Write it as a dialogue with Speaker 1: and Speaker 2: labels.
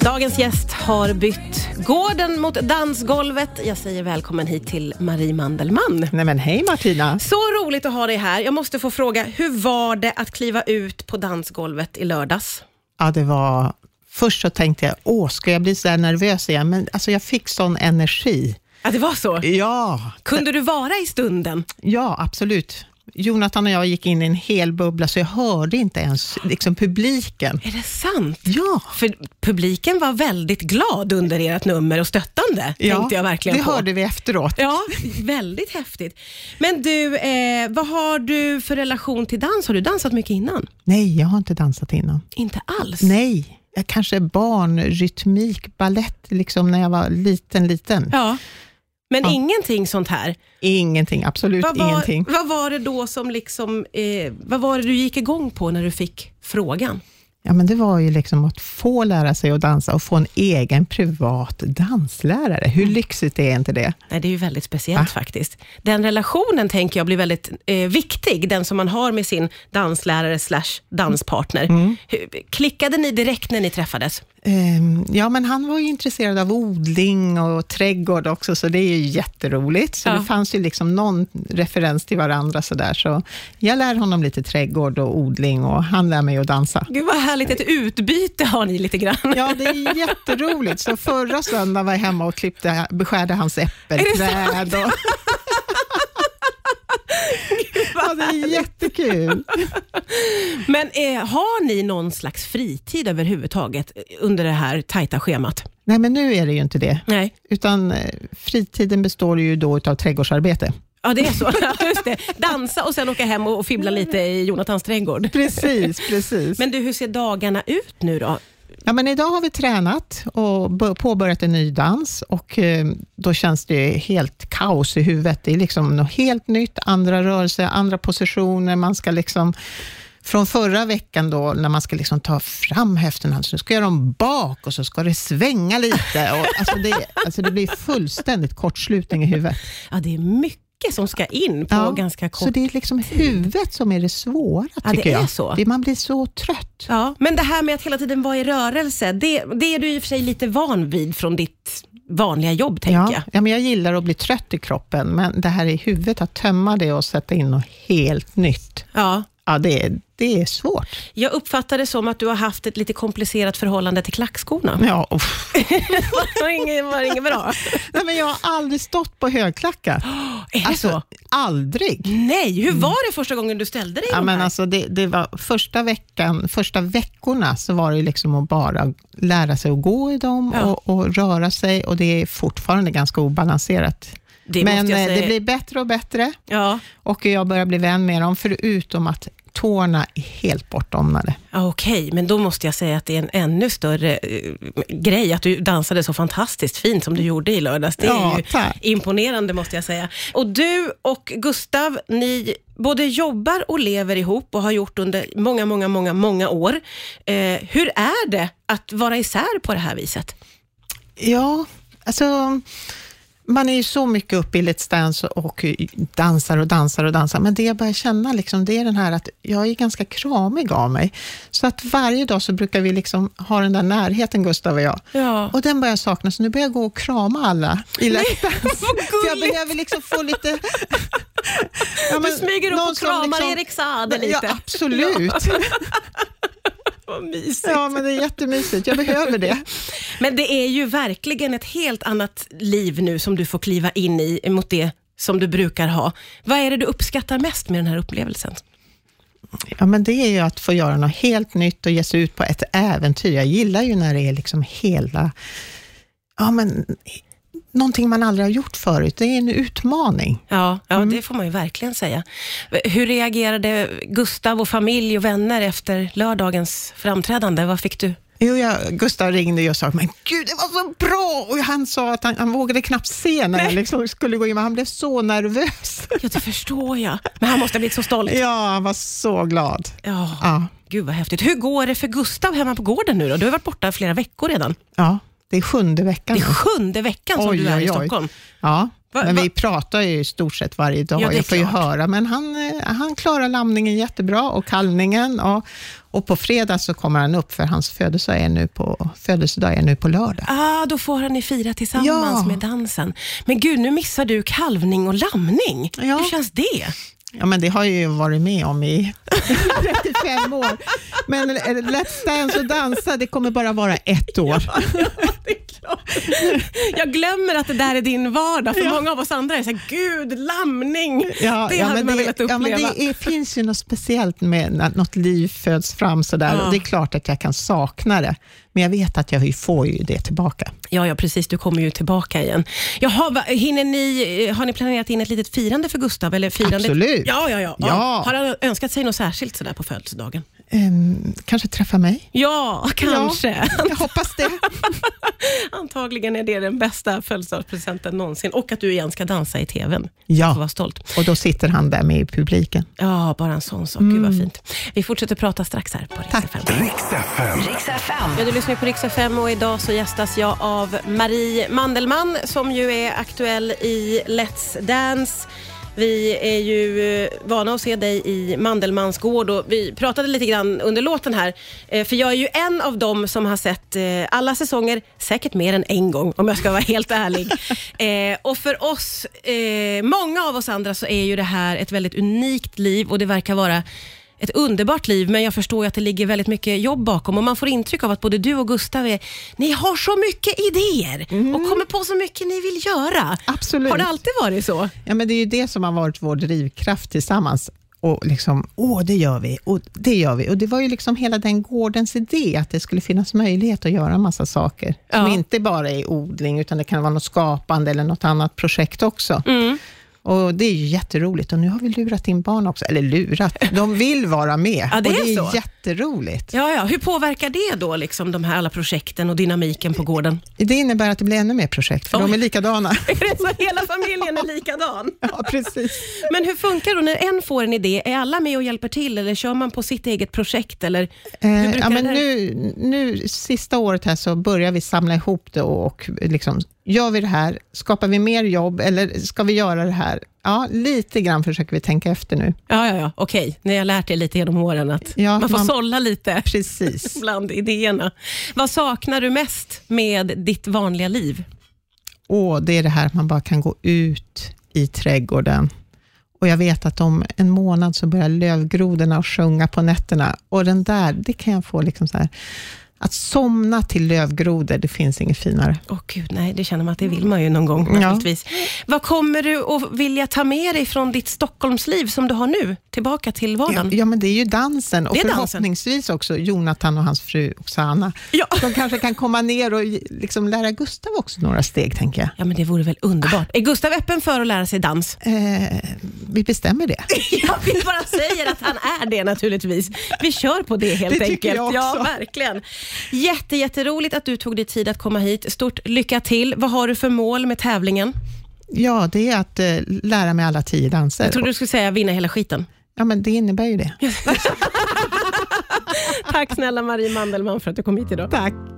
Speaker 1: Dagens gäst har bytt gården mot dansgolvet. Jag säger välkommen hit till Marie Mandelmann.
Speaker 2: Nej men hej Martina.
Speaker 1: Så roligt att ha dig här. Jag måste få fråga, hur var det att kliva ut på dansgolvet i lördags?
Speaker 2: Ja, det var... Först så tänkte jag, åh, ska jag bli så där nervös igen? Men alltså, jag fick sån energi.
Speaker 1: Ja, det var så.
Speaker 2: Ja,
Speaker 1: Kunde du vara i stunden?
Speaker 2: ja absolut. Jonathan och jag gick in i en hel bubbla, så jag hörde inte ens liksom, publiken.
Speaker 1: Är det sant?
Speaker 2: Ja,
Speaker 1: För publiken var väldigt glad under ert nummer och stöttande,
Speaker 2: ja
Speaker 1: tänkte jag verkligen
Speaker 2: det
Speaker 1: på.
Speaker 2: hörde vi efteråt.
Speaker 1: Ja, väldigt häftigt. Men du, eh, vad har du för relation till dans? Har du dansat mycket innan?
Speaker 2: Nej, jag har inte dansat innan.
Speaker 1: Inte alls.
Speaker 2: Nej, jag kanske barnrytmik, ballett, liksom när jag var liten, liten.
Speaker 1: Ja. Men ingenting sånt här?
Speaker 2: Ingenting, absolut
Speaker 1: Vad var,
Speaker 2: ingenting.
Speaker 1: vad var det då som liksom, eh, vad var det du gick igång på när du fick frågan?
Speaker 2: Ja, men det var ju liksom att få lära sig att dansa och få en egen privat danslärare. Hur lyxigt är inte det?
Speaker 1: Nej, det är ju väldigt speciellt faktiskt. Den relationen tänker jag blir väldigt eh, viktig, den som man har med sin danslärare slash danspartner.
Speaker 2: Mm.
Speaker 1: Hur, klickade ni direkt när ni träffades?
Speaker 2: Ehm, Ja, men han var ju intresserad av odling och trädgård också, så det är ju jätteroligt. Så
Speaker 1: Ja.
Speaker 2: det fanns ju liksom någon referens till varandra sådär. Så jag lär honom lite trädgård och odling och han lär mig att dansa.
Speaker 1: Gud vad härligt, ett utbyte har ni lite grann.
Speaker 2: Ja, det är jätteroligt. Så förra söndagen var jag hemma och klippte, beskärde hans äppelträd. Och... Ja, det är jättekul.
Speaker 1: Men eh, har ni någon slags fritid överhuvudtaget eh, under det här tajta schemat?
Speaker 2: Nej, men nu är det ju inte det.
Speaker 1: Nej.
Speaker 2: Utan eh, fritiden består ju då av trädgårdsarbete.
Speaker 1: Ja, det är så. Ja, Just det. Dansa och sen åka hem och och fibbla lite i Jonathans trädgård.
Speaker 2: Precis, precis.
Speaker 1: Men du, hur ser dagarna ut nu då?
Speaker 2: Ja, men idag har vi tränat och bör- påbörjat en ny dans och eh, då känns det helt kaos i huvudet. Det är liksom något helt nytt, andra rörelser, andra positioner. Man ska liksom, från förra veckan då, när man ska liksom ta fram höfterna, så ska jag göra dem bak och så ska det svänga lite. Och, alltså, det, alltså det blir fullständigt kortslutning i huvudet.
Speaker 1: Ja, det är mycket som ska in på
Speaker 2: Ja,
Speaker 1: ganska
Speaker 2: Så
Speaker 1: kort
Speaker 2: det är liksom huvudet som är det svåra,
Speaker 1: Ja, det
Speaker 2: tycker jag.
Speaker 1: är så.
Speaker 2: Det, man blir så trött.
Speaker 1: Ja, men det här med att hela tiden vara i rörelse, det, det är du i och för sig lite van vid från ditt vanliga jobb, tänker
Speaker 2: Ja,
Speaker 1: jag.
Speaker 2: ja, men jag gillar att bli trött i kroppen, men det här i huvudet, att tömma det och sätta in något helt nytt,
Speaker 1: Ja.
Speaker 2: ja, det, är- det är svårt.
Speaker 1: Jag uppfattar det som att du har haft ett lite komplicerat förhållande till klackskorna.
Speaker 2: Ja, uff.
Speaker 1: Det var inget, var inget bra.
Speaker 2: Nej, men jag har aldrig stått på högklackat.
Speaker 1: Är det så?
Speaker 2: Alltså, aldrig.
Speaker 1: Nej, hur var det första gången du ställde dig i
Speaker 2: Ja,
Speaker 1: de
Speaker 2: men
Speaker 1: här?
Speaker 2: alltså det, det var första, veckan, första veckorna så var det ju liksom att bara lära sig att gå i dem
Speaker 1: Ja.
Speaker 2: och, och röra sig och det är fortfarande ganska obalanserat.
Speaker 1: Det
Speaker 2: men
Speaker 1: måste jag
Speaker 2: eh,
Speaker 1: säga.
Speaker 2: det blir bättre och bättre.
Speaker 1: Ja,
Speaker 2: Och jag börjar bli vän med dem, förutom att tårna är helt bortdomnade.
Speaker 1: ja, okej, men då måste jag säga att det är en ännu större eh, grej att du dansade så fantastiskt fint som du gjorde i lördags. Det är
Speaker 2: Ja,
Speaker 1: ju
Speaker 2: tack.
Speaker 1: imponerande måste jag säga. Och du och Gustav, ni både jobbar och lever ihop och har gjort under många, många, många, många år. Eh, hur är det att vara isär på det här viset?
Speaker 2: Ja, alltså man är ju så mycket uppe i Let's Dance och dansar och dansar och dansar, men det jag börjar känna liksom, det är den här att jag är ganska kramig av mig. Så att varje dag så brukar vi liksom ha den där närheten, Gustav och jag.
Speaker 1: Ja.
Speaker 2: Och den börjar jag sakna, så nu börjar jag gå och krama alla i Let's Dance. För jag
Speaker 1: gulligt.
Speaker 2: behöver liksom få lite... Ja,
Speaker 1: Du
Speaker 2: men
Speaker 1: smyger upp
Speaker 2: någon
Speaker 1: och
Speaker 2: som
Speaker 1: kramar
Speaker 2: liksom-
Speaker 1: Erik Saade lite.
Speaker 2: Ja, absolut.
Speaker 1: Vad mysigt.
Speaker 2: Ja, men det är jättemysigt. Jag behöver det.
Speaker 1: Men det är ju verkligen ett helt annat liv nu som du får kliva in i mot det som du brukar ha. Vad är det du uppskattar mest med den här upplevelsen?
Speaker 2: Ja, men det är ju att få göra något helt nytt och ge sig ut på ett äventyr. Jag gillar ju när det är liksom hela... Ja, men någonting man aldrig har gjort förut. Det är en utmaning.
Speaker 1: Ja, ja
Speaker 2: Mm.
Speaker 1: det får man ju verkligen säga. Hur reagerade Gustav och familj och vänner efter lördagens framträdande? Vad fick du?
Speaker 2: Jo, jag, Gustav ringde ju och sa, men gud, det var så bra! Och han sa att han, han vågade knappt se när jag liksom skulle gå in, men han blev så nervös.
Speaker 1: Ja, det förstår jag. Men han måste ha blivit så stolt.
Speaker 2: Ja, han var så glad.
Speaker 1: Ja,
Speaker 2: Ja,
Speaker 1: gud vad häftigt. Hur går det för Gustav hemma på gården nu då? Du har varit borta flera veckor redan.
Speaker 2: ja det är sjunde veckan
Speaker 1: Det är
Speaker 2: nu.
Speaker 1: sjunde veckan som
Speaker 2: Oj,
Speaker 1: du är
Speaker 2: oj,
Speaker 1: i
Speaker 2: oj.
Speaker 1: Stockholm.
Speaker 2: Ja,
Speaker 1: Va-
Speaker 2: men
Speaker 1: va-
Speaker 2: vi pratar ju i stort sett varje dag.
Speaker 1: Ja, det är
Speaker 2: jag får ju
Speaker 1: klart.
Speaker 2: höra, men han, eh, han klarar lamningen jättebra och kallningen och, Och på fredag så kommer han upp, för hans födelsedag är nu på, födelsedag är nu på lördag.
Speaker 1: Ah, då får han ni fira tillsammans
Speaker 2: Ja.
Speaker 1: med dansen. Men gud, nu missar du kalvning och lamning.
Speaker 2: Ja.
Speaker 1: Hur känns det?
Speaker 2: Ja, men det har jag ju varit med om i 35 år. Men eh, Let's Dance och dansa, det kommer bara vara ett år.
Speaker 1: Jag glömmer att det där är din vardag, för många av oss andra är så här, gud, lamning.
Speaker 2: Ja,
Speaker 1: det
Speaker 2: ja,
Speaker 1: hade
Speaker 2: men
Speaker 1: man
Speaker 2: det,
Speaker 1: velat
Speaker 2: ja,
Speaker 1: uppleva.
Speaker 2: men det är, finns ju något speciellt med när något liv föds fram sådär.
Speaker 1: Ja.
Speaker 2: Och det är klart att jag kan sakna det, men jag vet att jag får ju det tillbaka.
Speaker 1: Ja, ja, precis. Du kommer ju tillbaka igen. Jaha, va, hinner ni, eh, har ni planerat in ett litet firande för Gustav? Eller firande?
Speaker 2: Absolut.
Speaker 1: Ja, ja, ja,
Speaker 2: Ja.
Speaker 1: Har han önskat sig något särskilt sådär på födelsedagen?
Speaker 2: Ehm, kanske träffa mig?
Speaker 1: Ja, kanske.
Speaker 2: Ja, jag hoppas det.
Speaker 1: Antagligen är det den bästa födelsedagspresenten någonsin. Och att du igen ska dansa i TVn. Får
Speaker 2: Ja,
Speaker 1: vara stolt.
Speaker 2: och då sitter han där med i publiken.
Speaker 1: Ja, bara en sån sak. Gud vad fint. Vi fortsätter prata strax här på Rix FM.
Speaker 3: Riks FM.
Speaker 4: Riks FM.
Speaker 1: Ja, du lyssnar på Rix FM och idag så gästas jag av Marie Mandelmann som ju är aktuell i Let's Dance. Vi är ju eh, vana att se dig i Mandelmans gård och vi pratade lite grann under låten här. Eh, För jag är ju en av dem som har sett eh, alla säsonger, säkert mer än en gång om jag ska vara helt ärlig. Eh, Och för oss, eh, många av oss andra, så är ju det här ett väldigt unikt liv och det verkar vara ett underbart liv, men jag förstår ju att det ligger väldigt mycket jobb bakom och man får intryck av att både du och Gustav är, ni har så mycket idéer och kommer på så mycket ni vill göra.
Speaker 2: Absolut.
Speaker 1: Har det alltid varit så?
Speaker 2: Ja, men det är ju det som har varit vår drivkraft tillsammans. Och liksom, åh, det gör vi, och det gör vi. Och det var ju liksom hela den gårdens idé, att det skulle finnas möjlighet att göra massa saker. Som
Speaker 1: Ja.
Speaker 2: inte bara är odling, utan det kan vara något skapande eller något annat projekt också.
Speaker 1: Mm.
Speaker 2: Och Det är ju jätteroligt och nu har vi lurat in barn också. Eller lurat, de vill vara med.
Speaker 1: Ja, det
Speaker 2: och
Speaker 1: är
Speaker 2: det är
Speaker 1: så.
Speaker 2: jätteroligt.
Speaker 1: Ja, ja. Hur påverkar det då liksom, de här alla projekten och dynamiken på gården?
Speaker 2: Det innebär att det blir ännu mer projekt, för
Speaker 1: Oj.
Speaker 2: de är likadana.
Speaker 1: Är det så hela familjen är likadan?
Speaker 2: ja, precis.
Speaker 1: Men hur funkar det då när en får en idé? Är alla med och hjälper till eller kör man på sitt eget projekt? Eller hur
Speaker 2: Eh,
Speaker 1: brukar
Speaker 2: ja, men
Speaker 1: det där-
Speaker 2: nu, nu, sista året här så börjar vi samla ihop det och, och liksom, gör vi det här, skapar vi mer jobb eller ska vi göra det här? Ja, lite grann försöker vi tänka efter nu.
Speaker 1: Ja, ja, ja. Okej, ni har lärt er lite genom åren att
Speaker 2: Ja,
Speaker 1: man får
Speaker 2: man-
Speaker 1: sålla lite.
Speaker 2: Precis.
Speaker 1: bland idéerna. Vad saknar du mest med ditt vanliga liv?
Speaker 2: Och det är det här att man bara kan gå ut i trädgården. Och jag vet att om en månad så börjar lövgrodorna att sjunga på nätterna. Och den där, det kan jag få liksom så här, att somna till lövgrodor, det finns inget finare.
Speaker 1: Åh gud, nej, det känner man att det vill man ju någon gång naturligtvis. Vad kommer du att vilja ta med dig från ditt Stockholmsliv som du har nu, tillbaka till vardagen?
Speaker 2: Ja, ja, men det är ju dansen och
Speaker 1: Det är dansen.
Speaker 2: förhoppningsvis också Jonathan och hans fru Oksana.
Speaker 1: Ja.
Speaker 2: De kanske kan komma ner och ge- liksom lära Gustav också några steg, tänker jag.
Speaker 1: Ja, men det vore väl underbart. Är Gustav öppen för att lära sig dans?
Speaker 2: Eh, vi bestämmer det.
Speaker 1: Ja, vi bara säger att han är det naturligtvis. Vi kör på det helt
Speaker 2: Det tycker
Speaker 1: enkelt.
Speaker 2: jag
Speaker 1: Ja,
Speaker 2: också.
Speaker 1: verkligen. Jätte, jätteroligt att du tog dig tid att komma hit. Stort lycka till. Vad har du för mål med tävlingen?
Speaker 2: Ja, det är att eh, lära mig alla tio danser.
Speaker 1: Jag trodde du skulle säga vinna hela skiten.
Speaker 2: Ja, men det innebär ju det.
Speaker 1: Tack snälla Marie Mandelmann för att du kom hit idag.
Speaker 2: Tack.